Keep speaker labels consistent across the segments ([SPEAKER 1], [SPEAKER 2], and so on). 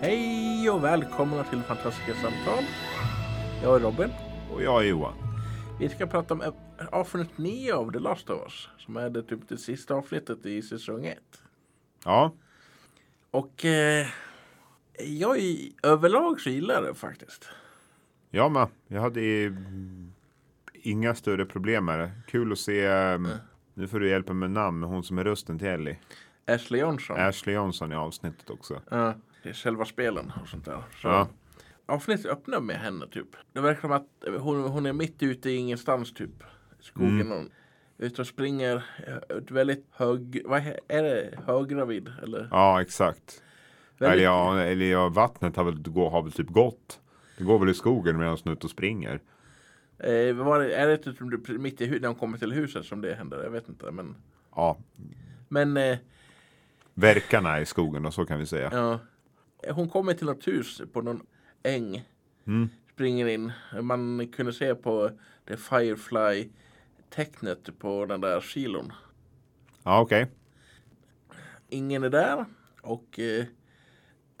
[SPEAKER 1] Hej och välkomna till Fantastiska Samtal. Jag är Robin.
[SPEAKER 2] Och jag är Johan.
[SPEAKER 1] Vi ska prata om avsnitt 9 av The Last of Us. Som är det, typ det sista avsnittet i säsong 1.
[SPEAKER 2] Ja,
[SPEAKER 1] Och eh, jag i, överlag så gillar jag det faktiskt.
[SPEAKER 2] jag med. Jag hade eh, inga större problem med det. Kul att se. eh,
[SPEAKER 1] Mm.
[SPEAKER 2] Nu får du hjälpa mig med namn. men Hon som är rösten till Ellie.
[SPEAKER 1] Ashley Johnson.
[SPEAKER 2] Ashley Johnson i avsnittet också.
[SPEAKER 1] Ja, det är själva spelen och sånt där. Så
[SPEAKER 2] Ja.
[SPEAKER 1] Avsnittet öppnar med henne typ. Det verkar som att hon, hon är mitt ute i ingenstans typ. I
[SPEAKER 2] Mm.
[SPEAKER 1] skogen. Hon är ute och springer. eh, Ett väldigt hög... Vad he- är det? Höggravid? Eller?
[SPEAKER 2] Ja, exakt.
[SPEAKER 1] Väldigt-
[SPEAKER 2] Eller, ja, eller ja, vattnet har väl, gå- har väl typ gått. Det går väl i skogen medan hon är ute och springer.
[SPEAKER 1] Eh, vad var det, är det typ som du- mitt i huset, när hon kommer till huset som det händer? Jag vet inte. Men,
[SPEAKER 2] Ja,
[SPEAKER 1] men eh,
[SPEAKER 2] verkarna i skogen och så kan vi säga.
[SPEAKER 1] ja. Eh, Hon kommer till något hus på någon äng.
[SPEAKER 2] Mm.
[SPEAKER 1] Springer in. Man kunde se på det Firefly tecknet på den där kilon.
[SPEAKER 2] Ja, okej.
[SPEAKER 1] Ingen är där. Och eh,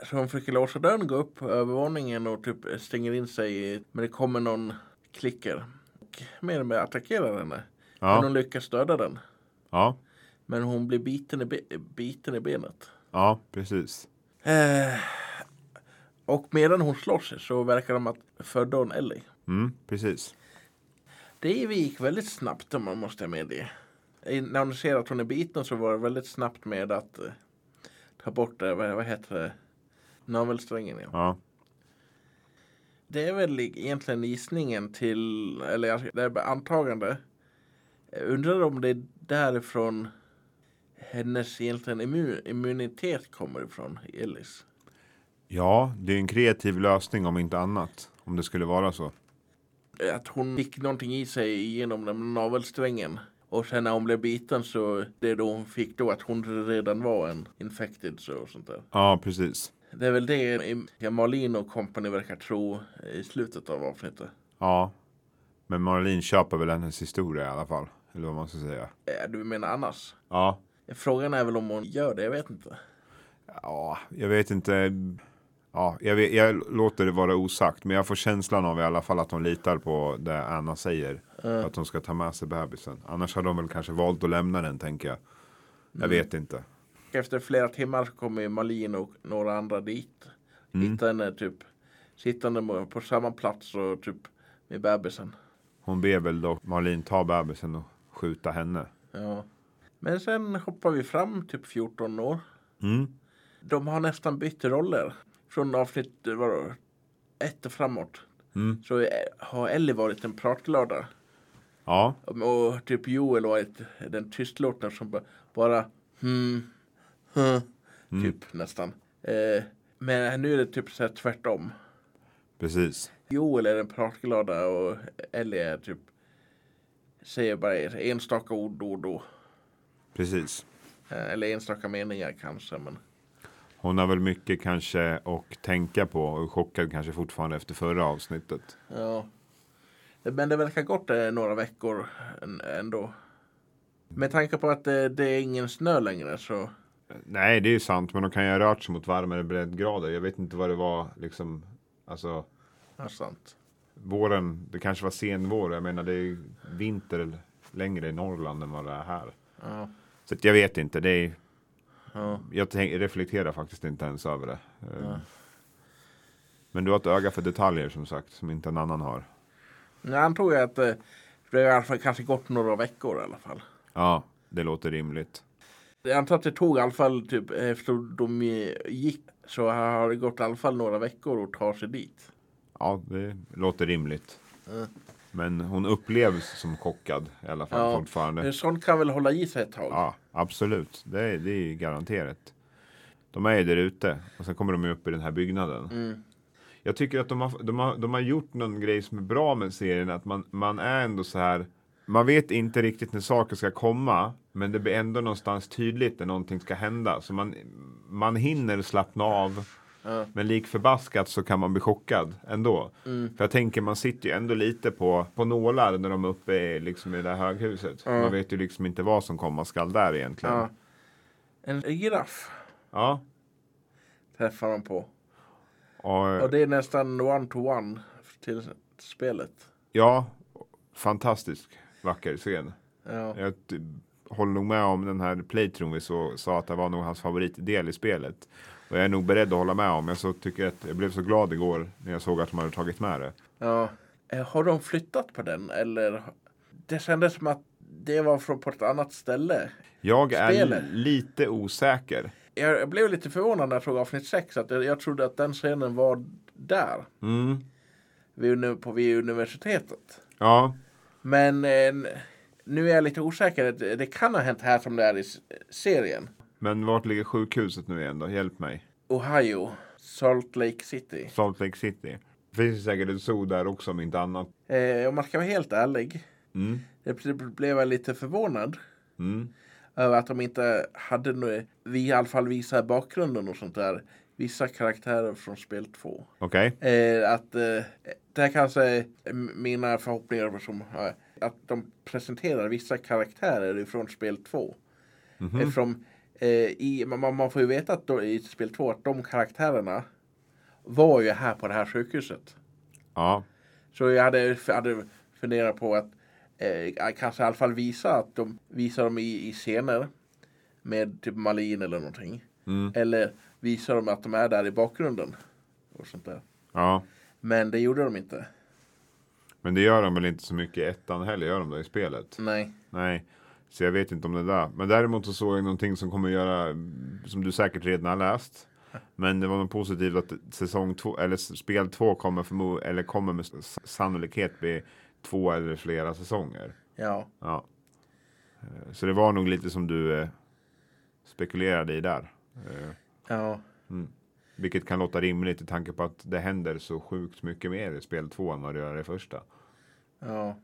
[SPEAKER 1] så hon försöker låsa dörren, gå upp på övervåningen och typ stänger in sig. Men det kommer någon klicker. Och mer och mer attackerar henne. Men
[SPEAKER 2] Ja,
[SPEAKER 1] hon lyckas döda den.
[SPEAKER 2] ja,
[SPEAKER 1] Men hon blir biten i, be- biten i benet.
[SPEAKER 2] ja, precis.
[SPEAKER 1] Eh, och medan hon slåss så verkar de att födde hon Ellie.
[SPEAKER 2] Mm, precis.
[SPEAKER 1] Det gick väldigt snabbt om man måste medge. I- När hon ser att hon är biten så var det väldigt snabbt med att eh, ta bort det, vad, vad heter det? Navelsträngen ja.
[SPEAKER 2] Ja,
[SPEAKER 1] Det är väl egentligen gissningen till, eller jag- det är bara antagande. Jag undrar om det är därifrån hennes egentligen immu- immunitet kommer ifrån, Ellis.
[SPEAKER 2] ja det är en kreativ lösning om inte annat. Om det skulle vara så.
[SPEAKER 1] att hon fick någonting i sig genom den här navelsträngen. Och sen när hon blev biten så det då hon fick då att hon redan var en infected så och sånt där.
[SPEAKER 2] Ja, precis.
[SPEAKER 1] Det är väl det Malin och company verkar tro i slutet av avsnittet.
[SPEAKER 2] Ja. Men Marlene köper väl hennes historia i alla fall. Eller vad man ska säga.
[SPEAKER 1] Äh, Du menar annars?
[SPEAKER 2] Ja.
[SPEAKER 1] Frågan är väl om hon gör det, jag vet inte.
[SPEAKER 2] Ja, jag vet inte. Ja, jag, vet, jag låter det vara osagt. Men jag får känslan av i alla fall att hon litar på det Anna säger. Att hon ska ta med sig bebisen. Annars hade de väl kanske valt att lämna den tänker jag. Jag vet inte.
[SPEAKER 1] Efter flera timmar så kommer ju Malin och några andra dit. Hittar henne typ sittande på samma plats och typ med bebisen.
[SPEAKER 2] Hon ber väl då Marlene ta bebisen och skjuta henne.
[SPEAKER 1] Ja. Men sen hoppar vi fram typ 14 år.
[SPEAKER 2] Mm.
[SPEAKER 1] De har nästan bytt roller. Från avsnitt vadå, ett och framåt.
[SPEAKER 2] Mm.
[SPEAKER 1] Så eh, har Ellie varit en pratlörda.
[SPEAKER 2] Ja,
[SPEAKER 1] Och typ Joel varit den tystlåtna som ba- bara hmm, huh, typ nästan. Eh, men nu är det typ så här tvärtom.
[SPEAKER 2] precis.
[SPEAKER 1] Joel är den pratglada och Ellie är typ säger bara enstaka ord då och då.
[SPEAKER 2] Precis.
[SPEAKER 1] Eh, Eller enstaka meningar kanske. Men...
[SPEAKER 2] Hon har väl mycket kanske att tänka på och är chockad kanske fortfarande efter förra avsnittet.
[SPEAKER 1] Ja. Men det verkar gått eh, några veckor än- ändå. Med tanke på att eh, det, det är ingen snö längre så.
[SPEAKER 2] Nej, det är ju sant, men de kan ju ha rört sig mot varmare breddgrader. Jag vet inte vad det var liksom. Alltså
[SPEAKER 1] Ja, sant.
[SPEAKER 2] våren, det kanske var sen vår. Jag menar, det är ju vinter längre i Norrland än vad det är här.
[SPEAKER 1] Ja.
[SPEAKER 2] Så att jag vet inte. Det är,
[SPEAKER 1] Ja.
[SPEAKER 2] jag tänk, reflekterar faktiskt inte ens över det. Eh, Men du har ett öga för detaljer som sagt, som inte en annan har.
[SPEAKER 1] Men jag antog att eh, det har i alla fall kanske gått några veckor i alla fall.
[SPEAKER 2] Ja, det låter rimligt.
[SPEAKER 1] Jag antar att det tog i alla fall typ efter de gick så har det gått i alla fall några veckor att ta sig dit.
[SPEAKER 2] Ja, det låter rimligt.
[SPEAKER 1] Mm.
[SPEAKER 2] Men hon upplevs som chockad i alla fall
[SPEAKER 1] Ja.
[SPEAKER 2] fortfarande.
[SPEAKER 1] Sånt kan väl hålla i sig ett tag.
[SPEAKER 2] Ja, absolut. Det är, det är ju garanterat. De är ju där ute och sen kommer de ju upp i den här byggnaden.
[SPEAKER 1] Mm.
[SPEAKER 2] Jag tycker att de har, de, har, de har gjort någon grej som är bra med serien. Att man, man är ändå så här. Man vet inte riktigt när saker ska komma. Men det blir ändå någonstans tydligt när någonting ska hända. Så man, man hinner slappna av.
[SPEAKER 1] Ja.
[SPEAKER 2] Men lik förbaskat så kan man bli chockad ändå.
[SPEAKER 1] Mm.
[SPEAKER 2] För jag tänker man sitter ju ändå lite på, på nålar när de är uppe i, liksom, i det här höghuset.
[SPEAKER 1] Ja.
[SPEAKER 2] Man vet ju liksom inte vad som komma skall där egentligen.
[SPEAKER 1] Ja.
[SPEAKER 2] Ja.
[SPEAKER 1] En giraff
[SPEAKER 2] ja.
[SPEAKER 1] träffar man på.
[SPEAKER 2] Och,
[SPEAKER 1] Och det är nästan one-to-one till spelet.
[SPEAKER 2] ja, fantastisk vacker scen.
[SPEAKER 1] Ja.
[SPEAKER 2] Jag t- håller nog med om den här playthrough vi så, sa att det var nog hans favoritdel i spelet. Och jag är nog beredd att hålla med om. Jag, så tycker att jag blev så glad igår när jag såg att de hade tagit med det.
[SPEAKER 1] Ja. Eh, Har de flyttat på den eller? Det kändes som att det var från på ett annat ställe.
[SPEAKER 2] Jag är
[SPEAKER 1] Spelet.
[SPEAKER 2] lite osäker.
[SPEAKER 1] Jag jag blev lite förvånad när jag såg avsnitt 6 att jag, jag trodde att den scenen var där.
[SPEAKER 2] Mm.
[SPEAKER 1] Vid, uni- på vid universitetet.
[SPEAKER 2] Ja,
[SPEAKER 1] Men eh, nu är jag lite osäker. Det, det kan ha hänt här som det är i s- serien.
[SPEAKER 2] men vart ligger sjukhuset nu igen då? Hjälp mig.
[SPEAKER 1] Ohio. Salt Lake City.
[SPEAKER 2] Salt Lake City. Det finns ju säkert en zoo där också om inte annat.
[SPEAKER 1] Eh, om man ska vara helt ärlig.
[SPEAKER 2] Mm.
[SPEAKER 1] Det det blev jag lite förvånad.
[SPEAKER 2] Mm.
[SPEAKER 1] Över att de inte hade nu, vi i alla fall visar bakgrunden och sånt där. Vissa karaktärer från spel 2.
[SPEAKER 2] Okej.
[SPEAKER 1] Eh, att eh, det här kanske är m- mina förhoppningar som eh, att de presenterar vissa karaktärer från spel 2.
[SPEAKER 2] Mhm.
[SPEAKER 1] Eftersom eh, i, man, man får ju veta att då, i spel 2 att de karaktärerna var ju här på det här sjukhuset.
[SPEAKER 2] Ja.
[SPEAKER 1] Så jag hade, hade funderat på att eh, kanske i alla fall visa att de visar dem i, i scener med typ Malin eller någonting.
[SPEAKER 2] Mm.
[SPEAKER 1] Eller visar dem att de är där i bakgrunden. Och sånt där.
[SPEAKER 2] ja.
[SPEAKER 1] Men det gjorde de inte.
[SPEAKER 2] Men det gör de väl inte så mycket i ettan heller? Gör de det i spelet?
[SPEAKER 1] Nej.
[SPEAKER 2] Nej, så jag vet inte om det där. Men däremot så såg jag någonting som kommer göra, som du säkert redan har läst. Men det var något positivt att säsong två, eller s- spel två kommer, förmo- eller kommer med s- sannolikhet bli två eller flera säsonger.
[SPEAKER 1] Ja.
[SPEAKER 2] Ja. Eh, Så det var nog lite som du eh, spekulerade i där. Eh,
[SPEAKER 1] Ja.
[SPEAKER 2] Vilket kan låta rimligt i tanke på att det händer så sjukt mycket mer i spel två än vad det gör i första.
[SPEAKER 1] Ja.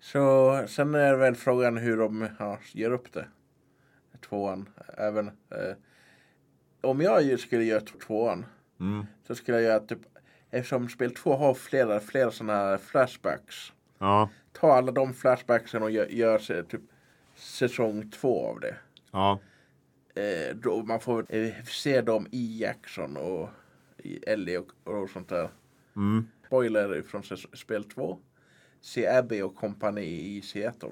[SPEAKER 1] Så sen är väl frågan hur de ja, gör upp det. Tvåan. Även. Eh, om jag ju skulle göra t- tvåan.
[SPEAKER 2] Mm.
[SPEAKER 1] Så skulle jag göra typ. Eftersom spel två har flera, flera sådana här flashbacks.
[SPEAKER 2] Ja,
[SPEAKER 1] Ta alla de flashbacksen och gör, gör se- typ säsong två av det.
[SPEAKER 2] ja,
[SPEAKER 1] Eh, då man får eh, se dem i Jackson och i Ellie och, och sånt där.
[SPEAKER 2] mm.
[SPEAKER 1] spoiler från säs- spel 2. Se Abbey och kompani i Seattle.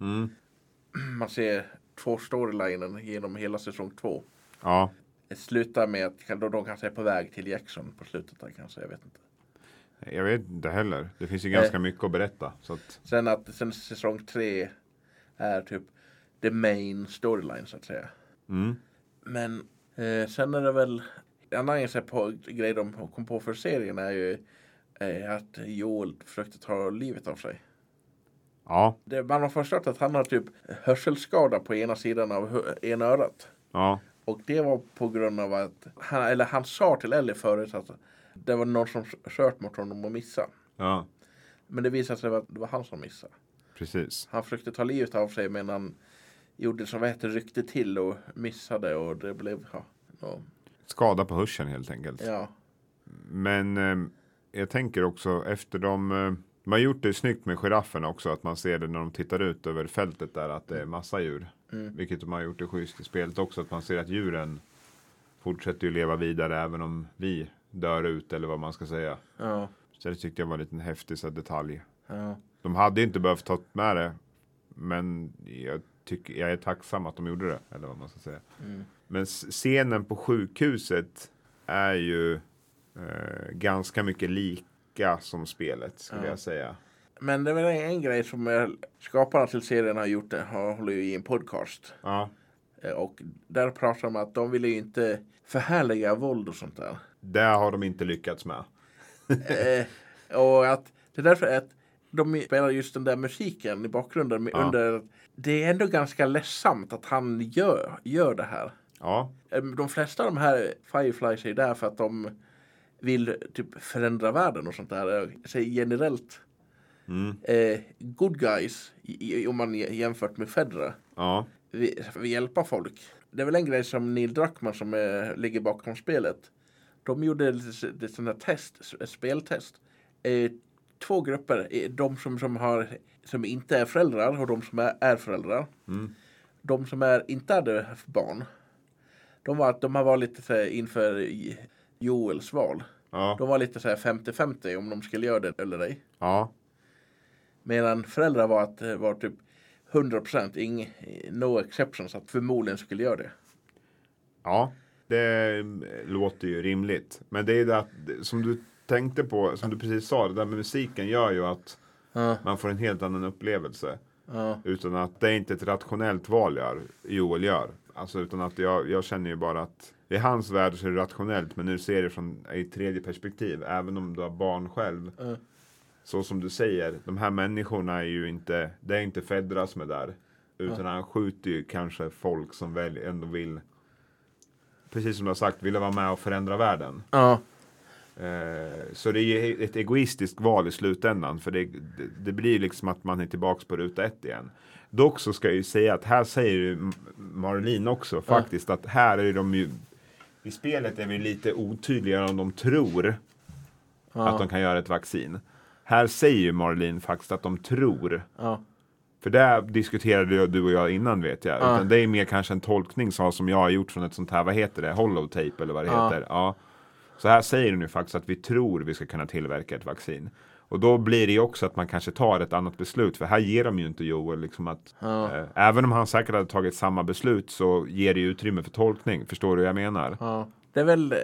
[SPEAKER 2] Mm.
[SPEAKER 1] Man ser två storylinen genom hela säsong 2.
[SPEAKER 2] ja.
[SPEAKER 1] Slutar med att de de kanske är på väg till Jackson på slutet där kanske, jag vet inte.
[SPEAKER 2] Jag vet inte heller. Det finns ju
[SPEAKER 1] Eh.
[SPEAKER 2] ganska mycket att berätta. Så att,
[SPEAKER 1] Sen att sen säsong 3 är typ the main storyline så att säga.
[SPEAKER 2] mm.
[SPEAKER 1] Men eh, sen är det väl en annan grej på- grej de kom på för serien är ju eh, att Joel försökte ta livet av sig.
[SPEAKER 2] Ja,
[SPEAKER 1] Det, man har förstått att han har typ hörselskada på ena sidan av hö- ena örat.
[SPEAKER 2] ja,
[SPEAKER 1] Och det var på grund av att han, eller han sa till Ellie förut att det var någon som kört mot honom och missade.
[SPEAKER 2] ja,
[SPEAKER 1] Men det visade sig att det var han som missade.
[SPEAKER 2] precis.
[SPEAKER 1] Han försökte ta livet av sig men han gjorde som vad heter ryckte till och missade och det blev ja. ja,
[SPEAKER 2] Skada på hörseln helt enkelt.
[SPEAKER 1] Ja,
[SPEAKER 2] Men eh, jag tänker också efter de... Eh, man har gjort det snyggt med girafferna också. Att man ser det när de tittar ut över fältet där att det är massa djur.
[SPEAKER 1] Mm.
[SPEAKER 2] Vilket de har gjort det schysst i spelet också. Att man ser att djuren fortsätter ju leva vidare även om vi dör ut eller vad man ska säga.
[SPEAKER 1] ja,
[SPEAKER 2] Så det tyckte jag var en liten häftig så här, detalj.
[SPEAKER 1] ja.
[SPEAKER 2] De hade ju inte behövt ta med det. Men jag, tycker, jag är tacksam att de gjorde det. Eller vad man ska säga.
[SPEAKER 1] Mm.
[SPEAKER 2] Men s- scenen på sjukhuset är ju eh, ganska mycket lika som spelet skulle
[SPEAKER 1] Ja.
[SPEAKER 2] jag säga.
[SPEAKER 1] Men det är väl en grej som eh, skaparna till serien har gjort, det, har håller ju i en podcast.
[SPEAKER 2] Ja.
[SPEAKER 1] Eh, Och där pratar de om att de ville ju inte förhärliga våld och sånt där.
[SPEAKER 2] Det har de inte lyckats med.
[SPEAKER 1] eh, och att det är därför att de spelar just den där musiken i bakgrunden. med-
[SPEAKER 2] Ja.
[SPEAKER 1] Under, det är ändå ganska ledsamt att han gör, gör det här.
[SPEAKER 2] Ja,
[SPEAKER 1] Eh, De flesta av de här Fireflies är där för att de vill typ förändra världen och sånt där. Jag säger generellt
[SPEAKER 2] mm.
[SPEAKER 1] eh, good guys i, i, om man j- jämfört med Fedra.
[SPEAKER 2] ja,
[SPEAKER 1] vi, vi hjälpa folk. Det är väl en grej som Neil Druckmann som eh, ligger bakom spelet. De gjorde lite sådana test, s- speltest. Eh, två grupper, eh, de som, som, har, som inte är föräldrar och de som är, är föräldrar.
[SPEAKER 2] Mm.
[SPEAKER 1] De som är, inte hade barn. De var, de har varit lite så här inför i- Joels val.
[SPEAKER 2] Ja.
[SPEAKER 1] De var lite så här 50-50 om de skulle göra det eller ej.
[SPEAKER 2] Ja.
[SPEAKER 1] Medan föräldrar var, att, eh, var typ 100% ing, no exceptions att förmodligen skulle göra det.
[SPEAKER 2] Ja. Det mm, låter ju rimligt. Men det är det att, som du tänkte på, som du precis sa, det där med musiken gör ju att
[SPEAKER 1] Ja,
[SPEAKER 2] man får en helt annan upplevelse.
[SPEAKER 1] ja,
[SPEAKER 2] Utan att det är inte ett rationellt val jag, Joel gör. Alltså utan att jag, jag känner ju bara att i hans värld så är det rationellt men nu ser det från i ett tredje perspektiv. Även om du har barn själv.
[SPEAKER 1] Ja.
[SPEAKER 2] Så som du säger, de här människorna är ju inte, det är inte Fedras med där. Utan han skjuter ju kanske folk som väl ändå vill, precis som du har sagt, vill vara med och förändra världen.
[SPEAKER 1] ja,
[SPEAKER 2] Eh, så det är ju ett egoistiskt val i slutändan. För det, det, det blir ju liksom att man är tillbaks på ruta ett igen. Dock så ska jag ju säga att här säger ju M- Marlin också faktiskt att här är de ju i spelet är vi lite otydligare om de tror att de kan göra ett vaccin. Här säger ju Marlin faktiskt att de tror.
[SPEAKER 1] ja,
[SPEAKER 2] För det här diskuterade ju du och jag innan vet jag.
[SPEAKER 1] Ja.
[SPEAKER 2] Utan det är mer kanske en tolkning så, som jag har gjort från ett sånt här, vad heter det, holotape eller vad det
[SPEAKER 1] Ja.
[SPEAKER 2] heter. Ja. Så här säger de ju faktiskt att vi tror vi ska kunna tillverka ett vaccin. Och då blir det ju också att man kanske tar ett annat beslut. För här ger de ju inte Joel liksom att
[SPEAKER 1] Ja.
[SPEAKER 2] eh, även om han säkert hade tagit samma beslut så ger det ju utrymme för tolkning. Förstår du vad jag menar?
[SPEAKER 1] ja. Det är väl, eh,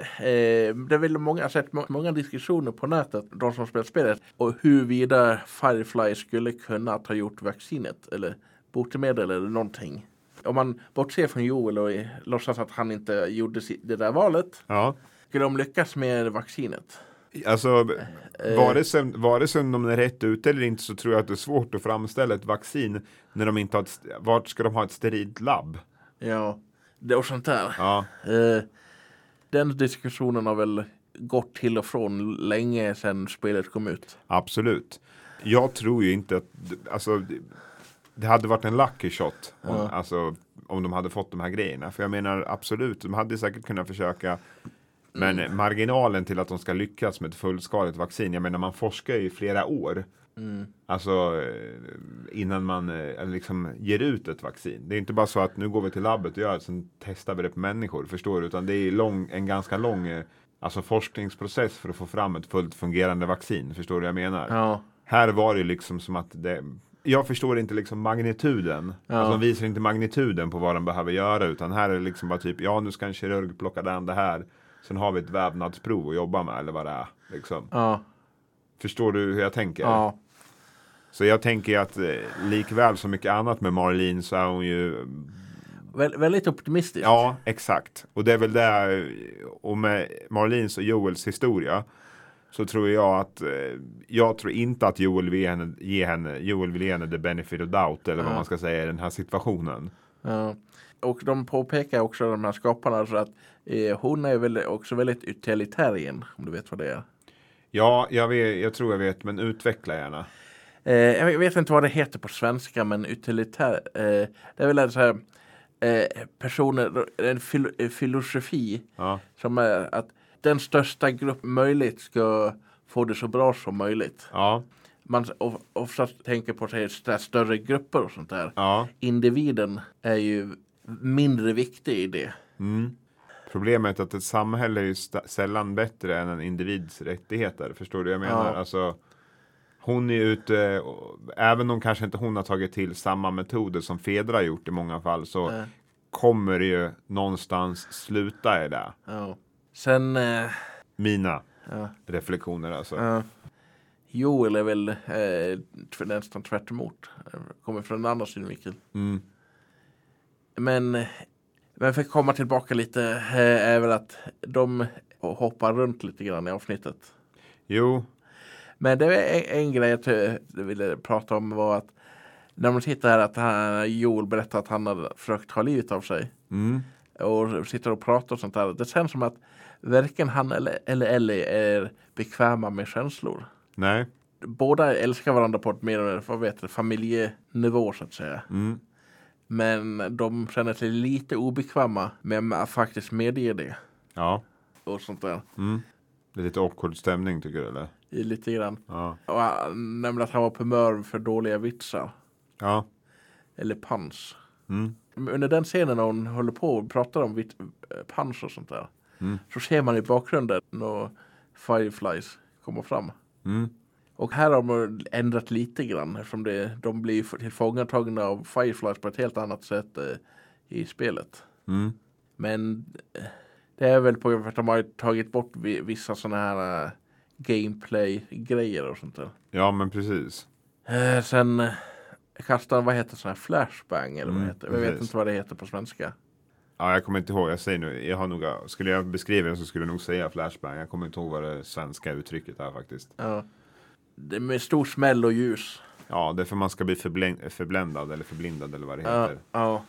[SPEAKER 1] det är väl många, jag har sett må- många diskussioner på nätet, de som spelar spelet, och huruvida Firefly skulle kunna ha gjort vaccinet eller botemedel eller någonting. Om man bortser från Joel och eh, låtsas att han inte gjorde si- det där valet,
[SPEAKER 2] Ja.
[SPEAKER 1] skulle de lyckas med vaccinet?
[SPEAKER 2] Alltså, vare sig, vare sig de är rätt ute eller inte så tror jag att det är svårt att framställa ett vaccin när de inte har ett, st- vart ska de ha ett sterilt labb?
[SPEAKER 1] Ja, det och sånt där.
[SPEAKER 2] Ja,
[SPEAKER 1] Eh, den diskussionen har väl gått till och från länge sedan spelet kom ut.
[SPEAKER 2] absolut. Jag tror ju inte att, alltså, det- det hade varit en lucky shot om, alltså, om de hade fått de här grejerna. För jag menar absolut, de hade säkert kunnat försöka. Men marginalen till att de ska lyckas med ett fullskaligt vaccin, jag menar man forskar ju i flera år. Alltså eh, innan man eh, liksom ger ut ett vaccin. Det är inte bara så att nu går vi till labbet och gör det, sen testar vi det på människor. Förstår du? Utan det är lång, en ganska lång eh, alltså forskningsprocess för att få fram ett fullt fungerande vaccin. Förstår du vad jag menar?
[SPEAKER 1] Ja,
[SPEAKER 2] Här var det liksom som att det, jag förstår inte liksom magnituden. Alltså de visar inte magnituden på vad de behöver göra utan här är det liksom bara typ, ja nu ska en kirurg plocka den det här. Sen har vi ett vävnadsprov att jobba med eller vad det är. Liksom.
[SPEAKER 1] ja,
[SPEAKER 2] Förstår du hur jag tänker?
[SPEAKER 1] ja,
[SPEAKER 2] Så jag tänker att eh, likväl som mycket annat med Marlene så är hon ju
[SPEAKER 1] Vä- väldigt optimistiskt.
[SPEAKER 2] Ja, exakt. Och det är väl det. eh, Och med Marlins och Joels historia. Så tror jag att. eh, Jag tror inte att Joel vill ge henne. Ge henne Joel vill ge henne the benefit of doubt. Eller vad man ska säga i den här situationen.
[SPEAKER 1] Ja. Och de påpekar också de här skaparna så att eh, hon är väl också väldigt utilitarian, om du vet vad det är.
[SPEAKER 2] Ja, jag, vet, jag tror jag vet. Men utveckla gärna.
[SPEAKER 1] Eh, jag vet inte vad det heter på svenska, men utilitär, eh, det är väl så här eh, personer, en fil- eh, filosofi
[SPEAKER 2] Ja,
[SPEAKER 1] som är att den största grupp möjligt ska få det så bra som möjligt.
[SPEAKER 2] ja,
[SPEAKER 1] Man of- oftast tänker på sig så här större grupper och sånt där.
[SPEAKER 2] ja.
[SPEAKER 1] Individen är ju mindre viktig i det.
[SPEAKER 2] Mm. Problemet är att ett samhälle är ju sta- sällan bättre än en individs rättigheter. Förstår du vad jag menar?
[SPEAKER 1] Ja.
[SPEAKER 2] Alltså, hon är ute, och- även om kanske inte hon har tagit till samma metoder som Fedra har gjort i många fall så
[SPEAKER 1] Nej.
[SPEAKER 2] kommer det ju någonstans sluta i det.
[SPEAKER 1] Ja. Sen eh,
[SPEAKER 2] Mina
[SPEAKER 1] ja,
[SPEAKER 2] reflektioner alltså.
[SPEAKER 1] ja. Joel är väl eh, tv- nästan tvärt emot. Kommer från en annan synvinkel.
[SPEAKER 2] Mm.
[SPEAKER 1] Men, men för att komma tillbaka lite eh, är väl att de hoppar runt lite grann i avsnittet.
[SPEAKER 2] Jo,
[SPEAKER 1] Men det är en, en grej jag ty- ville prata om var att när man tittar här att han, Joel berättar att han har försökt ta livet av sig
[SPEAKER 2] mm.
[SPEAKER 1] och sitter och pratar och sånt där. Det känns som att varken han eller, eller Ellie är bekväma med känslor.
[SPEAKER 2] nej.
[SPEAKER 1] Båda älskar varandra på ett mer vad vet, jag, familjenivå så att säga.
[SPEAKER 2] Mm.
[SPEAKER 1] Men de känner sig lite obekväma med att faktiskt medge det.
[SPEAKER 2] Ja,
[SPEAKER 1] Och sånt där.
[SPEAKER 2] mm. det är lite awkward stämning tycker du eller?
[SPEAKER 1] I Lite grann.
[SPEAKER 2] Ja,
[SPEAKER 1] Och han nämnde att han var på humör för dåliga vitsar.
[SPEAKER 2] ja,
[SPEAKER 1] Eller pans.
[SPEAKER 2] mm.
[SPEAKER 1] Under den scenen när hon håller på och pratar om vit, eh, pans och sånt där.
[SPEAKER 2] Mm.
[SPEAKER 1] Så ser man i bakgrunden några Fireflies komma fram.
[SPEAKER 2] Mm.
[SPEAKER 1] Och här har man ändrat lite grann eftersom det, de blir tillfångatagna av Fireflies på ett helt annat sätt eh, i spelet.
[SPEAKER 2] Mm.
[SPEAKER 1] Men eh, det är väl på grund av att de har tagit bort vi- vissa sådana här eh, gameplay-grejer och sånt där.
[SPEAKER 2] Ja, men precis.
[SPEAKER 1] Eh, sen eh, kastar vad heter sån här flashbang eller vad
[SPEAKER 2] Mm,
[SPEAKER 1] det heter? Jag vet
[SPEAKER 2] precis.
[SPEAKER 1] inte vad det heter på svenska.
[SPEAKER 2] Ja, jag kommer inte ihåg. Jag säger nu. Jag har nog, skulle jag beskriva den så skulle jag nog säga flashbang. Jag kommer inte ihåg vad det svenska uttrycket är faktiskt.
[SPEAKER 1] Ja. Det är med stor smäll och ljus.
[SPEAKER 2] Ja, det är för man ska bli förbläng- förbländad eller förblindad eller vad det
[SPEAKER 1] Ja.
[SPEAKER 2] heter.
[SPEAKER 1] ja.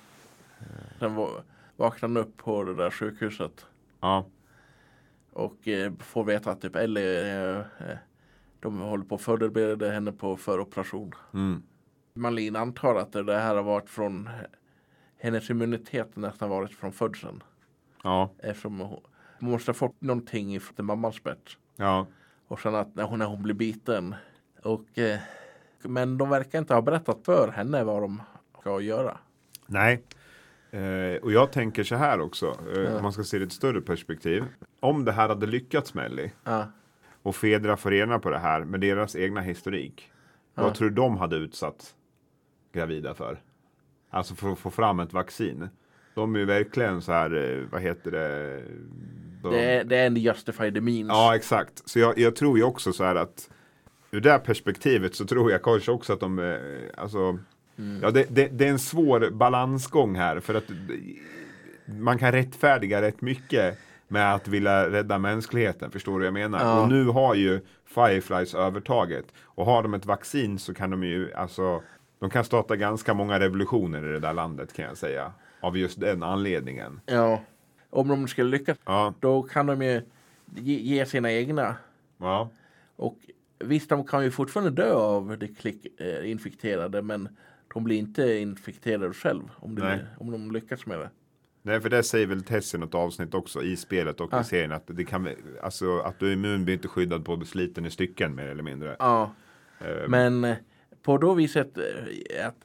[SPEAKER 1] Sen va- vaknar han upp på det där sjukhuset
[SPEAKER 2] Ja,
[SPEAKER 1] och eh, får veta att typ Ellie, eh, eh, de håller på att förbereda henne på för operation.
[SPEAKER 2] mm.
[SPEAKER 1] Malin antar att det här har varit från eh, hennes immunitet nästan varit från födseln.
[SPEAKER 2] ja,
[SPEAKER 1] Eftersom hon, hon måste ha fått någonting från mammans bett.
[SPEAKER 2] ja.
[SPEAKER 1] Och sen att när hon, när hon blir biten. Och, eh, men de verkar inte ha berättat för henne vad de ska göra.
[SPEAKER 2] Nej. Eh, och jag tänker så här också, eh, om man ska se det i ett större perspektiv. Om det här hade lyckats med Ellie
[SPEAKER 1] Ja.
[SPEAKER 2] och Fedra får reda på det här med deras egna historik.
[SPEAKER 1] Ja.
[SPEAKER 2] Vad tror du de hade utsatt gravida för? Alltså för att få fram ett vaccin. De är ju verkligen så här, eh, vad heter det? De-
[SPEAKER 1] Det, är, det är en justify the means.
[SPEAKER 2] Ja, exakt. Så jag, jag tror ju också så här att ur det här perspektivet så tror jag kanske också att de, eh, alltså, ja, det, det, det är en svår balansgång här för att eh, man kan rättfärdiga rätt mycket med att vilja rädda mänskligheten, förstår du vad jag menar?
[SPEAKER 1] Ja.
[SPEAKER 2] Och nu har ju Fireflies övertaget och har de ett vaccin så kan de ju, alltså, de kan starta ganska många revolutioner i det där landet kan jag säga. Av just den anledningen.
[SPEAKER 1] Ja. Om de skulle lyckas,
[SPEAKER 2] Ja,
[SPEAKER 1] då kan de ju ge, ge sina egna.
[SPEAKER 2] ja,
[SPEAKER 1] Och visst, de kan ju fortfarande dö av det klick, eh, infekterade, men de blir inte infekterade själv om,
[SPEAKER 2] Nej.
[SPEAKER 1] det, om de lyckas med det.
[SPEAKER 2] Nej, för det säger väl Tess i något avsnitt också i spelet och
[SPEAKER 1] Ah.
[SPEAKER 2] i serien att det kan alltså att du är immun blir inte skyddad på att bli sliten i stycken mer eller mindre.
[SPEAKER 1] Ja.
[SPEAKER 2] Eh,
[SPEAKER 1] Men eh, på då viset eh, att,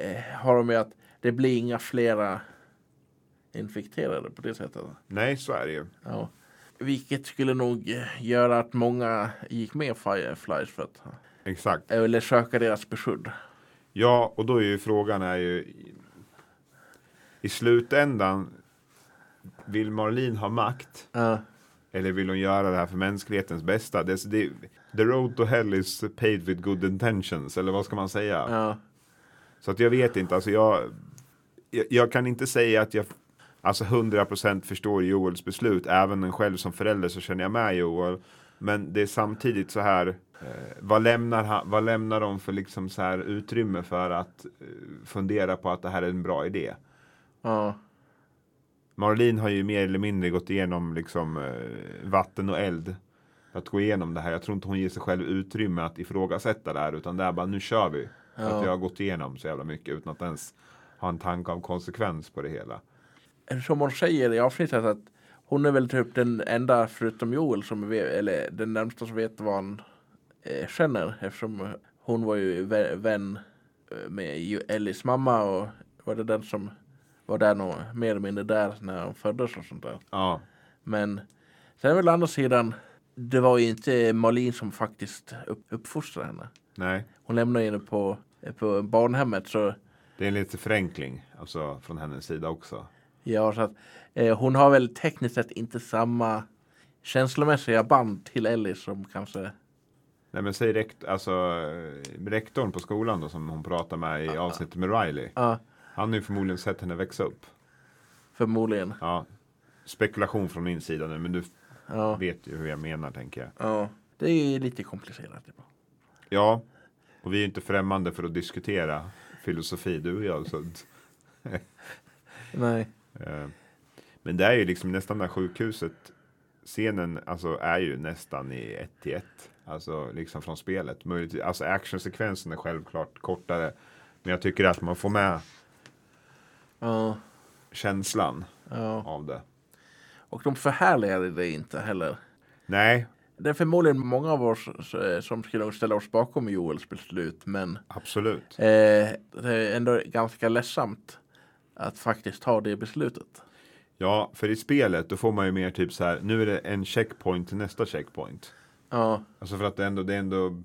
[SPEAKER 1] eh, har de ju att det blir inga flera infekterade på det sättet.
[SPEAKER 2] nej, så är det ju.
[SPEAKER 1] Ja. Vilket skulle nog eh, göra att många gick med Fireflies för att eh,
[SPEAKER 2] Exakt.
[SPEAKER 1] eller söka deras beskydd.
[SPEAKER 2] Ja, och då är ju frågan är ju i- i slutändan vill Marlene ha makt
[SPEAKER 1] Ja.
[SPEAKER 2] eller vill hon göra det här för mänsklighetens bästa? Det, är- det, the road to hell is paved with good intentions eller vad ska man säga?
[SPEAKER 1] Ja.
[SPEAKER 2] Så att jag vet inte, alltså jag, jag, jag kan inte säga att jag alltså 100% förstår Joels beslut, även en själv som förälder så känner jag med Joel. Men det är samtidigt så här, eh, vad, lämnar han, vad lämnar de för liksom så här utrymme för att eh, fundera på att det här är en bra idé?
[SPEAKER 1] Ja.
[SPEAKER 2] Marlene har ju mer eller mindre gått igenom liksom, eh, vatten och eld. För att gå igenom det här. Jag tror inte hon ger sig själv utrymme att ifrågasätta det här. Utan det är bara, nu kör vi. För
[SPEAKER 1] Ja.
[SPEAKER 2] att jag har gått igenom så jävla mycket utan att ens ha en tanke om konsekvens på det hela.
[SPEAKER 1] Som hon säger i avsnittet att hon är väl typ den enda förutom Joel som vet, eller den närmsta som vet vad han eh, känner eftersom hon var ju vä- vän eh, med ju- Ellies mamma och var det den som var där nog mer eller mindre där när hon föddes och sånt där.
[SPEAKER 2] Ja,
[SPEAKER 1] Men sen väl å andra sidan, det var ju inte Malin som faktiskt upp, uppfostrade henne.
[SPEAKER 2] nej.
[SPEAKER 1] Hon lämnade henne på, eh, på barnhemmet så
[SPEAKER 2] Det är en liten förenkling alltså, från hennes sida också.
[SPEAKER 1] Ja, så att, eh, hon har väl tekniskt sett inte samma känslomässiga band till Ellie som kanske...
[SPEAKER 2] Nej men säg rekt, alltså, eh, rektorn på skolan då, som hon pratar med i avsnittet med Riley.
[SPEAKER 1] Ja,
[SPEAKER 2] Han har ju förmodligen sett henne växa upp.
[SPEAKER 1] förmodligen.
[SPEAKER 2] Ja. Spekulation från min sida nu men du
[SPEAKER 1] Ja,
[SPEAKER 2] vet ju hur jag menar tänker jag.
[SPEAKER 1] ja. Det är ju lite komplicerat. typ. ibland.
[SPEAKER 2] Ja, och vi är inte främmande för att diskutera filosofi, du och jag. Så, att,
[SPEAKER 1] Nej.
[SPEAKER 2] eh, men det är ju liksom nästan det här sjukhuset. Scenen alltså, är ju nästan i ett till ett. Alltså liksom från spelet. Möjligt, alltså actionsekvensen är självklart kortare. Men jag tycker att man får med
[SPEAKER 1] Ja,
[SPEAKER 2] känslan
[SPEAKER 1] ja.
[SPEAKER 2] av det.
[SPEAKER 1] Och de förhärligade det inte heller.
[SPEAKER 2] Nej,
[SPEAKER 1] Det är förmodligen många av oss eh, som skulle ställa oss bakom Joels beslut, men
[SPEAKER 2] absolut.
[SPEAKER 1] eh, det är ändå ganska ledsamt att faktiskt ta det beslutet.
[SPEAKER 2] Ja, för i spelet då får man ju mer typ så här, nu är det en checkpoint till nästa checkpoint.
[SPEAKER 1] Ja,
[SPEAKER 2] Alltså för att det ändå, det är ändå...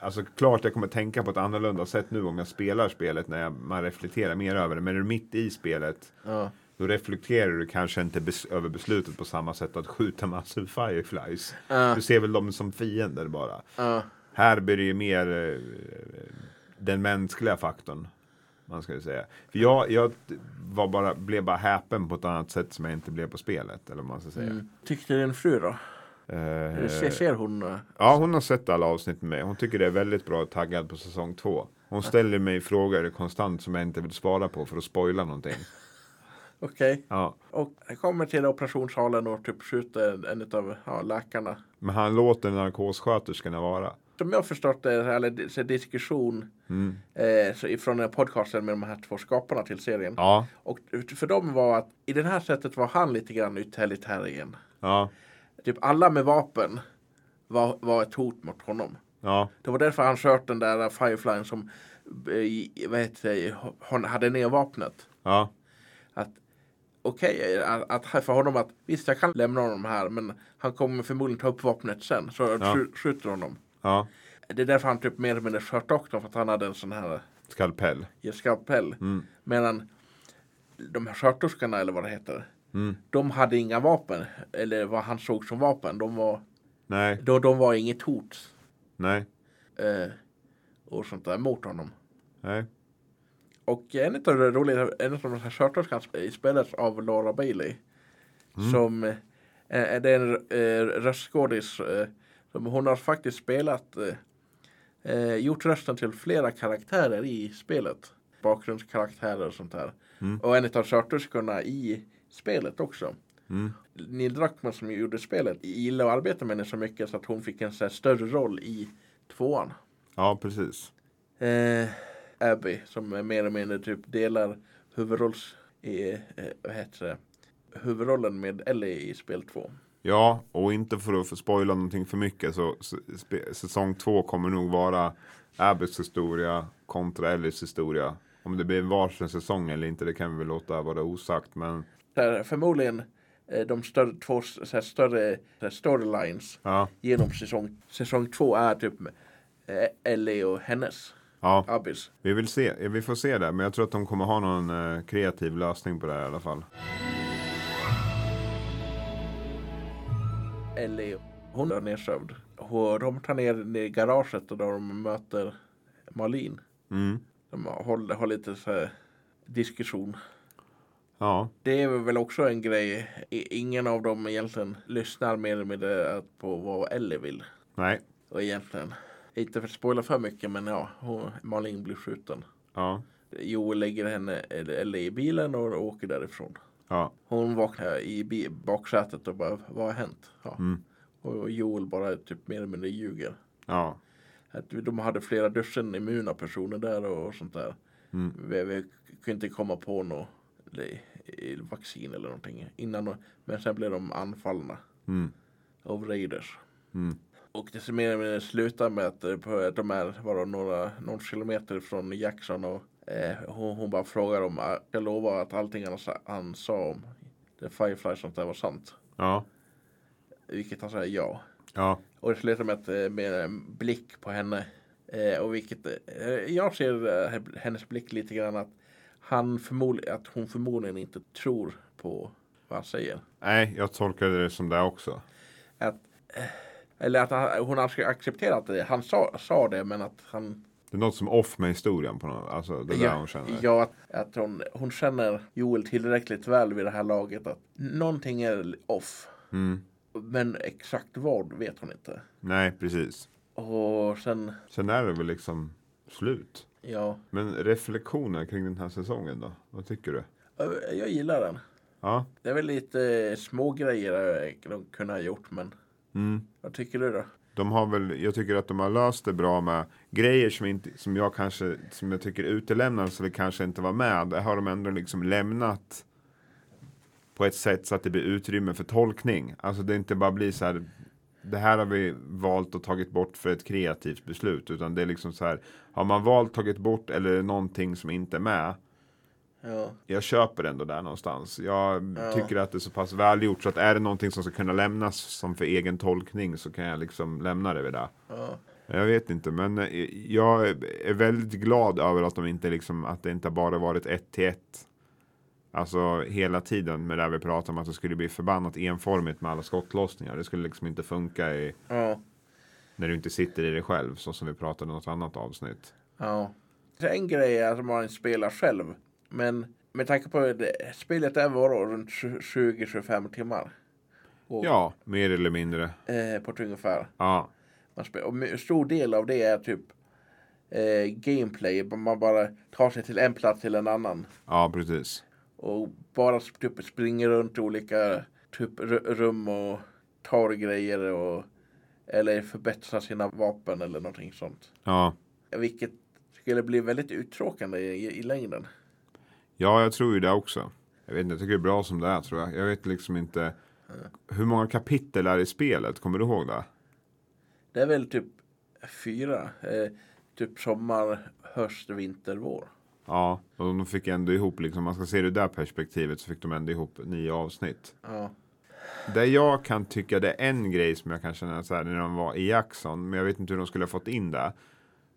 [SPEAKER 2] Alltså klart jag kommer tänka på ett annorlunda sätt nu om jag spelar spelet när jag, man reflekterar mer över det. Men är du mitt i spelet
[SPEAKER 1] ja.
[SPEAKER 2] då reflekterar du kanske inte bes, över beslutet på samma sätt att skjuta massor fireflies.
[SPEAKER 1] Ja.
[SPEAKER 2] Du ser väl dem som fiender bara.
[SPEAKER 1] ja.
[SPEAKER 2] Här blir det ju mer eh, den mänskliga faktorn. Man ska ju säga. För jag, jag var bara, blev bara häpen på ett annat sätt som jag inte blev på spelet. Eller vad man ska säga.
[SPEAKER 1] Mm. Tyckte din fru då?
[SPEAKER 2] Eh,
[SPEAKER 1] Eller Ser, ser hon? eh,
[SPEAKER 2] Ja, hon har sett alla avsnitt med mig. Hon tycker det är väldigt bra och taggad på säsong två. Hon ställer mig frågor konstant som jag inte vill svara på för att spoila någonting.
[SPEAKER 1] Okej.
[SPEAKER 2] Ja.
[SPEAKER 1] Och jag kommer till operationssalen och typ skjuter en av ja, läkarna.
[SPEAKER 2] Men han låter narkossköterskorna vara.
[SPEAKER 1] Som jag förstått det, eller det- så diskussion
[SPEAKER 2] Mm.
[SPEAKER 1] eh, så ifrån den här podcasten med de här två skaparna till serien.
[SPEAKER 2] Ja,
[SPEAKER 1] Och ut- för dem var att i det här sättet var han lite grann utilitarian.
[SPEAKER 2] ja,
[SPEAKER 1] Typ alla med vapen var, var ett hot mot honom.
[SPEAKER 2] ja,
[SPEAKER 1] Det var därför han kört den där Fireflyen som eh, i- vad heter det, hon hade ner vapnet.
[SPEAKER 2] ja, att,
[SPEAKER 1] Okej, att, att för honom att visst jag kan lämna honom här men han kommer förmodligen ta upp vapnet sen så jag
[SPEAKER 2] Ja.
[SPEAKER 1] skj- skjuter honom.
[SPEAKER 2] ja.
[SPEAKER 1] Det är därför han typ mer eller mindre sköt doktorn för att han hade en sån här
[SPEAKER 2] Skalpell.
[SPEAKER 1] i skalpell.
[SPEAKER 2] Mm.
[SPEAKER 1] Medan de här sköterskorna eller vad det heter.
[SPEAKER 2] Mm.
[SPEAKER 1] De hade inga vapen. Eller vad han såg som vapen. De var,
[SPEAKER 2] Nej,
[SPEAKER 1] de, de var inget hot.
[SPEAKER 2] nej,
[SPEAKER 1] Eh, och sånt där mot honom.
[SPEAKER 2] nej.
[SPEAKER 1] Och en av de roliga, en av de här sköterskan sp- spelades av Laura Bailey. Som eh, är det är en eh, röstskådis. Eh, som hon har faktiskt spelat, eh, eh, gjort rösten till flera karaktärer i spelet. Bakgrundskaraktärer och sånt där.
[SPEAKER 2] Mm.
[SPEAKER 1] Och en av sköterskorna i spelet också.
[SPEAKER 2] Mm.
[SPEAKER 1] Neil Druckmann som gjorde spelet gillade att arbeta med henne så mycket så att hon fick en så här större roll i tvåan.
[SPEAKER 2] Ja, precis.
[SPEAKER 1] Eh, Abby som är mer eller mindre typ delar huvudrolls... I, eh, vad heter det? Huvudrollen med Ellie i spel 2.
[SPEAKER 2] Ja, och inte för att spoila någonting för mycket så så spe- säsong två kommer nog vara Abbys historia kontra Ellis historia. Om det blir en varsin säsong eller inte, det kan vi väl låta vara osagt. Men
[SPEAKER 1] Där förmodligen eh, de större, två s- så här, större så här, storylines
[SPEAKER 2] ja,
[SPEAKER 1] genom säsong, säsong 2 är typ eh, Ellie och hennes,
[SPEAKER 2] ja,
[SPEAKER 1] Abbys.
[SPEAKER 2] vi vill se. eh, Vi får se det, men jag tror att de kommer ha någon eh, kreativ lösning på det här i alla fall.
[SPEAKER 1] Ellie, hon är nedsövd. Och de tar ner i garaget och då de möter Malin.
[SPEAKER 2] Mm.
[SPEAKER 1] De har, har lite så här, diskussion.
[SPEAKER 2] Ja,
[SPEAKER 1] Det är väl också en grej. I- Ingen av dem egentligen lyssnar mer eller mindre att- på vad Ellie vill.
[SPEAKER 2] nej,
[SPEAKER 1] Och egentligen, inte för att spoila för mycket, men ja, hon, Malin blir skjuten.
[SPEAKER 2] ja,
[SPEAKER 1] Joel lägger henne, eller Ellie, i bilen och åker därifrån.
[SPEAKER 2] ja,
[SPEAKER 1] Hon vaknar i bi- baksätet och bara, vad har hänt? Ja.
[SPEAKER 2] Mm.
[SPEAKER 1] Och Joel bara typ mer eller mindre ljuger.
[SPEAKER 2] ja,
[SPEAKER 1] Att de hade flera dussin immuna personer där och sånt där.
[SPEAKER 2] Mm.
[SPEAKER 1] Vi, vi kunde inte komma på något eller, eh, vaccin eller någonting innan. Men sen blev de anfallna
[SPEAKER 2] mm,
[SPEAKER 1] av raiders.
[SPEAKER 2] mm,
[SPEAKER 1] Och det ser mer eller mindre slutar med att eh, på- att de är bara några, någon kilometer från Jackson och eh, hon, hon bara frågar om eh, jag lovar att allting han, sa- han sa om The Firefly sånt där var sant.
[SPEAKER 2] ja,
[SPEAKER 1] Vilket han säger ja.
[SPEAKER 2] ja,
[SPEAKER 1] Och det slutar med, att, eh, med en blick på henne. Eh, och vilket, eh, jag ser eh, hennes blick lite grann att, han förmodligen, att hon förmodligen inte tror på vad han säger.
[SPEAKER 2] nej, jag tolkade det som det också.
[SPEAKER 1] Att, eh, eller att han, hon har accepterat det. Han sa, sa det men att han...
[SPEAKER 2] Det är något som off med historien på något, alltså det där
[SPEAKER 1] ja,
[SPEAKER 2] hon känner.
[SPEAKER 1] ja, att, att hon, hon känner Joel tillräckligt väl vid det här laget att någonting är off.
[SPEAKER 2] Mm,
[SPEAKER 1] Men exakt vad vet hon inte.
[SPEAKER 2] nej, precis.
[SPEAKER 1] Och sen,
[SPEAKER 2] Sen är det väl liksom slut.
[SPEAKER 1] ja,
[SPEAKER 2] Men reflektioner kring den här säsongen då? Vad tycker du?
[SPEAKER 1] jag- eh, jag gillar den.
[SPEAKER 2] Ja.
[SPEAKER 1] Det är väl lite eh, små grejer eh, de kunde ha gjort, men
[SPEAKER 2] Mm.
[SPEAKER 1] vad tycker du då?
[SPEAKER 2] De har väl, jag tycker att de har löst det bra med grejer som, inte, som jag kanske som jag tycker utelämnades eller kanske inte var med. Där har de ändå liksom lämnat på ett sätt så att det blir utrymme för tolkning. Alltså det inte bara blir så här. Det här har vi valt och tagit bort för ett kreativt beslut. Utan det är liksom så här. Har man valt tagit bort eller är det någonting som inte är med.
[SPEAKER 1] Ja.
[SPEAKER 2] Jag köper ändå där någonstans. Jag
[SPEAKER 1] Ja.
[SPEAKER 2] tycker att det är så pass välgjort så att är det någonting som ska kunna lämnas som för egen tolkning så kan jag liksom lämna det vid det.
[SPEAKER 1] Ja.
[SPEAKER 2] Jag vet inte, men eh, jag är väldigt glad över att de inte liksom att det inte bara varit ett till ett. Alltså hela tiden med det här vi pratade om att det skulle bli förbannat enformigt med alla skottlossningar. Det skulle liksom inte funka i,
[SPEAKER 1] Ja.
[SPEAKER 2] när du inte sitter i det själv så som vi pratade i något annat avsnitt.
[SPEAKER 1] ja. En grej är att man spelar själv. Men med tanke på att det, spelet är bara runt 20-25 timmar. Och,
[SPEAKER 2] Ja, mer eller mindre.
[SPEAKER 1] eh, på ett ungefär.
[SPEAKER 2] Ja,
[SPEAKER 1] Man spel, och en stor del av det är typ eh, gameplay. Man bara tar sig till en plats till en annan.
[SPEAKER 2] ja precis.
[SPEAKER 1] Och bara sp- typ springer runt i olika typ ru- rum och tar grejer och eller förbättrar sina vapen eller någonting sånt.
[SPEAKER 2] Ja.
[SPEAKER 1] Vilket skulle bli väldigt uttråkande i, i längden.
[SPEAKER 2] Ja, jag tror ju det också. Jag vet inte, jag tycker det är bra som det är tror jag. Jag vet liksom inte. Hur många kapitel är i spelet? Kommer du ihåg det?
[SPEAKER 1] Det är väl typ fyra. Eh, typ sommar, höst, vinter, vår.
[SPEAKER 2] Ja, och de fick ändå ihop, liksom, om man ska se det där perspektivet, så fick de ändå ihop nio avsnitt.
[SPEAKER 1] Ja.
[SPEAKER 2] Där jag kan tycka det är en grej som jag kan känna så här när de var i Jackson, men jag vet inte hur de skulle ha fått in det.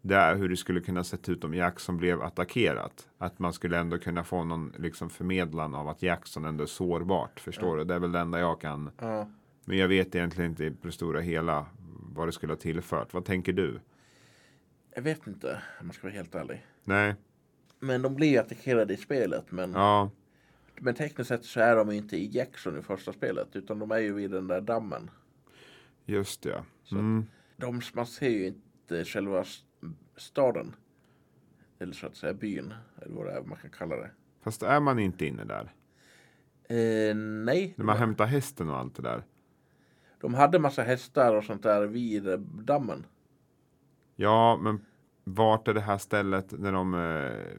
[SPEAKER 2] Det är hur det skulle kunna sett ut om Jackson blev attackerat. Att man skulle ändå kunna få någon liksom förmedlan av att Jackson ändå är sårbart. Förstår du? Det är väl det enda jag kan.
[SPEAKER 1] ja.
[SPEAKER 2] Men jag vet egentligen inte på det stora hela vad det skulle ha tillfört. Vad tänker du?
[SPEAKER 1] Jag vet inte om man ska vara helt ärlig.
[SPEAKER 2] Nej,
[SPEAKER 1] Men de blir ju attackerade i spelet. Men,
[SPEAKER 2] ja,
[SPEAKER 1] men tekniskt sett så är de ju inte i Jackson i första spelet. Utan de är ju vid den där dammen.
[SPEAKER 2] just det.
[SPEAKER 1] Så att-
[SPEAKER 2] Mm.
[SPEAKER 1] De, man ser ju inte själva s- staden. Eller så att säga byn. Eller vad det är man kan kalla det.
[SPEAKER 2] Fast är man inte inne där?
[SPEAKER 1] Eh, nej.
[SPEAKER 2] När man hämtar hästen och allt det där.
[SPEAKER 1] De hade massa hästar och sånt där vid eh, dammen.
[SPEAKER 2] Ja, men vart är det här stället när de eh,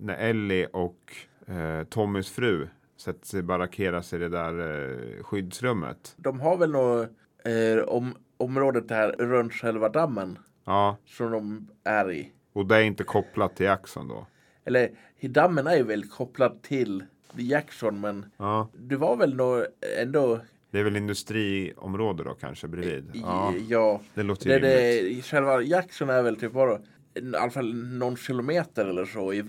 [SPEAKER 2] när Ellie och eh, Tommys fru sätter sig barrackeras i det där eh, skyddsrummet?
[SPEAKER 1] De har väl något eh, om, området där runt själva dammen
[SPEAKER 2] Ja,
[SPEAKER 1] som de är i.
[SPEAKER 2] och det är inte kopplat till Jackson då.
[SPEAKER 1] Eller dammen är ju väl kopplad till Jackson men
[SPEAKER 2] Ja,
[SPEAKER 1] det var väl nog ändå
[SPEAKER 2] det är väl industriområde då kanske bredvid.
[SPEAKER 1] i,
[SPEAKER 2] Ja,
[SPEAKER 1] ja
[SPEAKER 2] det låter ju
[SPEAKER 1] Det, det,
[SPEAKER 2] rimligt.
[SPEAKER 1] i själva Jackson är väl typ bara i alla fall någon kilometer eller så i-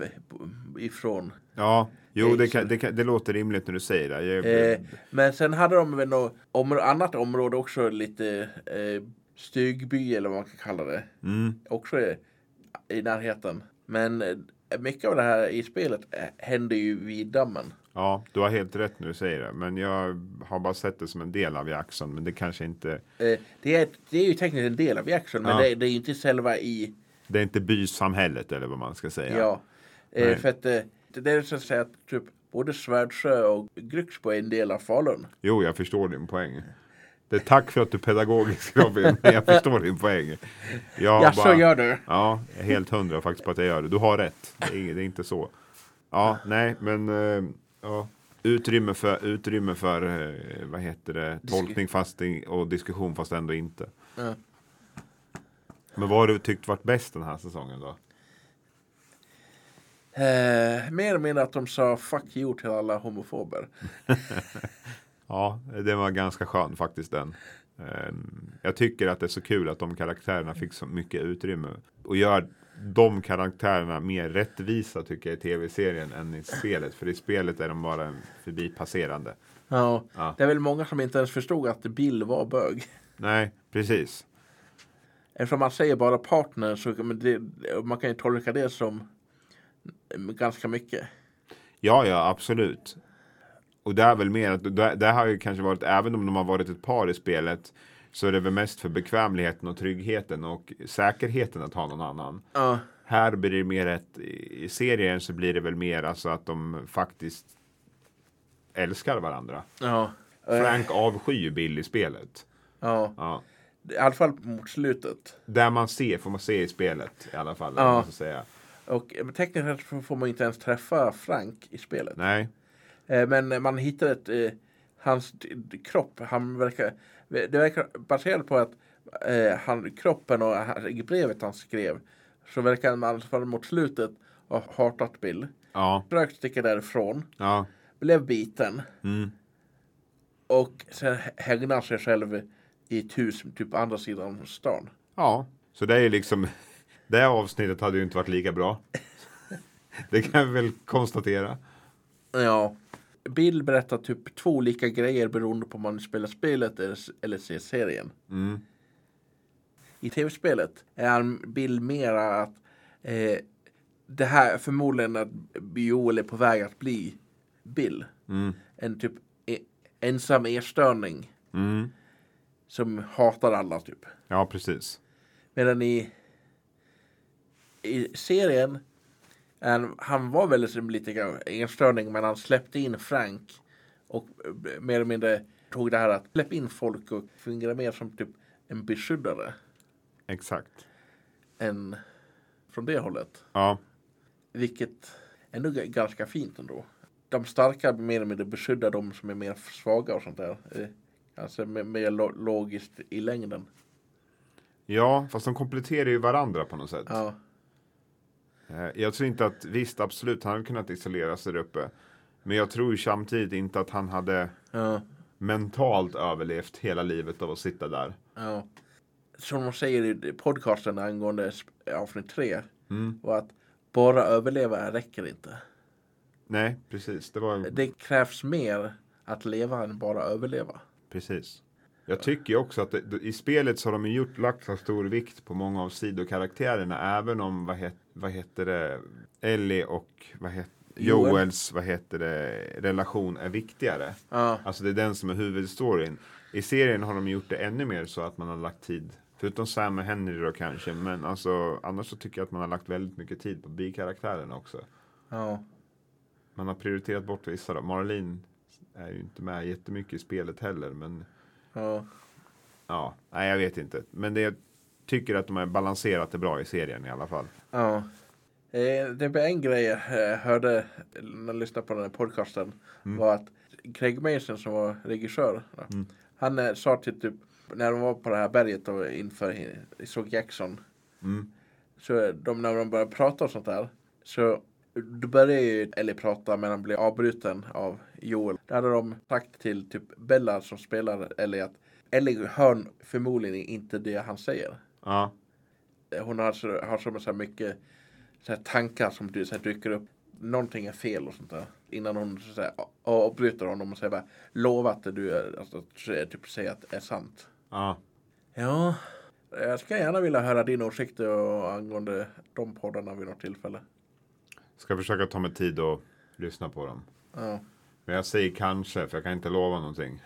[SPEAKER 1] ifrån.
[SPEAKER 2] Ja, jo, det, kan, det, kan, det låter rimligt när du säger det. Jag,
[SPEAKER 1] Eh, men sen hade de väl något områ- annat område också, lite eh, stugby eller vad man kan kalla det.
[SPEAKER 2] mm,
[SPEAKER 1] Också i, i närheten. Men eh, mycket av det här i spelet eh, händer ju vid dammen.
[SPEAKER 2] ja, du har helt rätt när du säger det. Men jag har bara sett det som en del av Jackson. Men det kanske inte,
[SPEAKER 1] Eh, det, är, det är ju tekniskt en del av Jackson men
[SPEAKER 2] Ja.
[SPEAKER 1] det, det är ju inte själva i...
[SPEAKER 2] det är inte bysamhället eller vad man ska säga.
[SPEAKER 1] Ja. Eh,
[SPEAKER 2] Nej.
[SPEAKER 1] för att eh, det det är så att säga att typ både Svärdsjö och Grycksbo är en del av Falun.
[SPEAKER 2] Jo, jag förstår din poäng. Det är tack för att du är pedagogisk Robin, men jag förstår din poäng. Jag
[SPEAKER 1] Ja, så gör du.
[SPEAKER 2] Ja, jag är helt hundra faktiskt på att jag gör det. Du har rätt. Det är, ing- det är inte så. Ja, nej, men eh, ja. utrymme för, utrymme för eh, vad heter det, tolkning fast i- och diskussion fast ändå inte.
[SPEAKER 1] Ja.
[SPEAKER 2] Men vad har du tyckt varit bäst den här säsongen då?
[SPEAKER 1] Eh, mer eller mindre att de sa fuck you till alla homofober.
[SPEAKER 2] Ja, den var ganska skön faktiskt den. Ehm, Jag tycker att det är så kul att de karaktärerna fick så mycket utrymme och gör de karaktärerna mer rättvisa tycker jag i tv-serien än i spelet. För i spelet är de bara en förbipasserande.
[SPEAKER 1] Ja.
[SPEAKER 2] Ja.
[SPEAKER 1] Det är väl många som inte ens förstod att Bill var bög.
[SPEAKER 2] Nej, precis.
[SPEAKER 1] Eftersom man säger bara partner så kan man, det, man kan ju tolka det som ganska mycket.
[SPEAKER 2] Ja, ja, absolut. Och det är väl mer att det, det har ju kanske varit, även om de har varit ett par i spelet, så är det väl mest för bekvämligheten och tryggheten och säkerheten att ha någon annan.
[SPEAKER 1] Ja.
[SPEAKER 2] Här blir det mer ett, i serien så blir det väl mer alltså att de faktiskt älskar varandra.
[SPEAKER 1] Ja. Eh,
[SPEAKER 2] Frank avskyr Bill i spelet.
[SPEAKER 1] ja.
[SPEAKER 2] Ja.
[SPEAKER 1] I alla fall mot slutet.
[SPEAKER 2] Där man ser, får man se i spelet i alla fall.
[SPEAKER 1] Ja.
[SPEAKER 2] eller vad man ska Säga.
[SPEAKER 1] Och eh, men tekniskt sett så får man ju inte ens träffa Frank i spelet.
[SPEAKER 2] Nej,
[SPEAKER 1] Eh, Men man hittar ett, eh, hans d- d- kropp. Han verkar, det verkar baserat på att eh, han, kroppen och han- brevet han skrev så verkar han i alla fall mot slutet ha hatat Bill.
[SPEAKER 2] Ja,
[SPEAKER 1] Försökte sticka därifrån.
[SPEAKER 2] ja,
[SPEAKER 1] Blev biten.
[SPEAKER 2] mm,
[SPEAKER 1] Och sen hä- hägnar sig själv i ett hus typ på andra sidan stan.
[SPEAKER 2] ja. Så det är liksom, det här avsnittet hade ju inte varit lika bra. Det kan vi väl konstatera.
[SPEAKER 1] Ja. Bill berättar typ två olika grejer beroende på om man spelar spelet eller- eller ser serien.
[SPEAKER 2] Mm.
[SPEAKER 1] I tv-spelet är han Bill mera att eh, det här förmodligen att Joel är på väg att bli Bill.
[SPEAKER 2] Mm.
[SPEAKER 1] En typ e- ensam erstöning
[SPEAKER 2] Mm.
[SPEAKER 1] som hatar alla typ.
[SPEAKER 2] Ja, precis.
[SPEAKER 1] Medan i, i serien han, han var väl liksom lite grann enstörning men han släppte in Frank och eh, mer eller mindre tog det här att släppa in folk och fungera mer som typ en beskyddare
[SPEAKER 2] Exakt.
[SPEAKER 1] än från det hållet.
[SPEAKER 2] Ja,
[SPEAKER 1] Vilket är nog ganska fint ändå. De starka mer eller mindre beskyddar de som är mer svaga och sånt där. Eh, Alltså mer- mer lo- logiskt i längden.
[SPEAKER 2] ja fast de kompletterar ju varandra på något sätt.
[SPEAKER 1] Ja.
[SPEAKER 2] Eh, Jag tror inte att, visst absolut, han hade kunnat isolera sig där uppe. Men jag tror ju samtidigt inte att han hade
[SPEAKER 1] ja.
[SPEAKER 2] mentalt överlevt hela livet av att sitta där.
[SPEAKER 1] Ja. Som de säger i podcasten angående sp- avsnitt tre.
[SPEAKER 2] Mm.
[SPEAKER 1] Var att bara överleva räcker inte.
[SPEAKER 2] Nej, precis. Det var
[SPEAKER 1] Det krävs mer att leva än bara överleva.
[SPEAKER 2] precis. Jag tycker ju också att det, i spelet så har de ju gjort, lagt så stor vikt på många av sidokaraktärerna. Även om, vad, het, vad heter det, Ellie och vad het,
[SPEAKER 1] Joel.
[SPEAKER 2] Joels, vad heter det, relation är viktigare.
[SPEAKER 1] Ja.
[SPEAKER 2] Alltså det är den som är huvudstoryn. I serien har de gjort det ännu mer så att man har lagt tid. Förutom Sam och Henry då kanske. Men alltså, annars så tycker jag att man har lagt väldigt mycket tid på bikaraktärerna också.
[SPEAKER 1] ja.
[SPEAKER 2] Man har prioriterat bort vissa då. Marlene är ju inte med jättemycket i spelet heller. Men
[SPEAKER 1] ja.
[SPEAKER 2] ja, nej jag vet inte. Men det, jag tycker att de har balanserat det bra i serien i alla fall.
[SPEAKER 1] Ja. Eh, Det var en grej jag eh, hörde när jag lyssnade på den här podcasten. Var att Craig Mason som var regissör. då, Han eh, sa till typ när de var på det här berget och inför såg Jackson.
[SPEAKER 2] Mm.
[SPEAKER 1] Så eh, de, när de började prata och sånt där. Så då började ju Ellie prata men han blev avbruten av Joel. Där hade de sagt till typ Bella som spelar Ellie att Ellie hör förmodligen inte det han säger
[SPEAKER 2] Ja,
[SPEAKER 1] hon har så, har så, så här mycket så här tankar som du, så här dyker upp. Någonting är fel och sånt där. Innan hon så här, a- avbryter honom och säger bara lova att det du är, alltså, att säga- typ säga att det är sant.
[SPEAKER 2] ja.
[SPEAKER 1] Ja. Jag ska gärna vilja höra din åsikt och angående de poddarna vid något tillfälle.
[SPEAKER 2] Ska försöka ta mig tid och lyssna på dem.
[SPEAKER 1] Ja.
[SPEAKER 2] Men jag säger kanske, för jag kan inte lova någonting.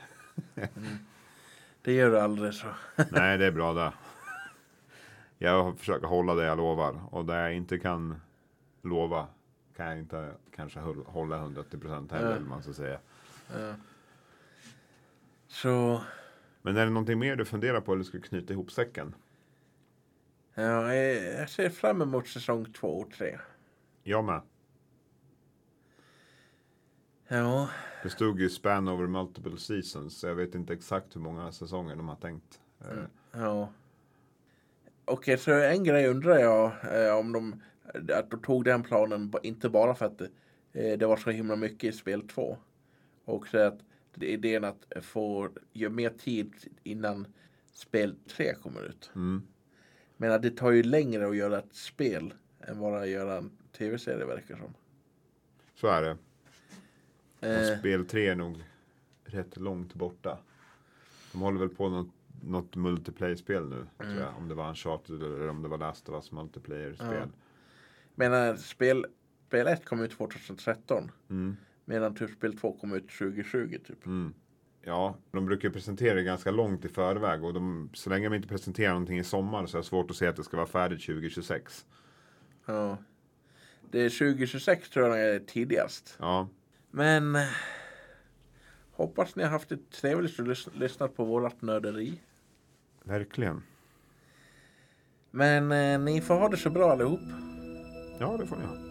[SPEAKER 1] Det gör du aldrig så.
[SPEAKER 2] Nej, det är bra det. Jag försöker hålla det jag lovar och det jag inte kan lova kan jag inte kanske hull- hålla 180 procent heller.
[SPEAKER 1] Ja.
[SPEAKER 2] eller vad Man ska säga.
[SPEAKER 1] Ja. Så
[SPEAKER 2] Men är det någonting mer du funderar på eller ska knyta ihop säcken?
[SPEAKER 1] ja, eh, jag ser fram emot säsong två och tre.
[SPEAKER 2] Jag med.
[SPEAKER 1] Ja,
[SPEAKER 2] Det stod ju span over multiple seasons. så Jag vet inte exakt hur många säsonger de har tänkt. eh,
[SPEAKER 1] Ja. Okej, så en grej undrar jag eh, om de, att de tog den planen ba- inte bara för att eh, det var så himla mycket i spel 2. Och så att det är idén att få ge mer tid innan spel 3 kommer ut.
[SPEAKER 2] Mm.
[SPEAKER 1] Men att det tar ju längre att göra ett spel än bara att göra en tv-serie verkar som.
[SPEAKER 2] Så är det.
[SPEAKER 1] Eh,
[SPEAKER 2] Och spel 3 är nog rätt långt borta. De håller väl på något, något multiplayer-spel nu. Tror jag. Om det var Uncharted eller om det var Last of Us multiplayer-spel.
[SPEAKER 1] men eh, spel, spel 1 kom ut 2013.
[SPEAKER 2] Mm.
[SPEAKER 1] Medan typ spel 2 kom ut 2020 typ.
[SPEAKER 2] Mm. Ja, de brukar ju presentera det ganska långt i förväg och de, så länge de inte presenterar någonting i sommar så är det svårt att se att det ska vara färdigt 2026.
[SPEAKER 1] Ja. Det är 2026 tror jag är tidigast.
[SPEAKER 2] Ja,
[SPEAKER 1] Men eh, hoppas ni har haft det trevligt och lys- lyssnat på vårat nörderi.
[SPEAKER 2] verkligen.
[SPEAKER 1] Men eh, ni får ha det så bra allihop.
[SPEAKER 2] Ja, det får ni ha.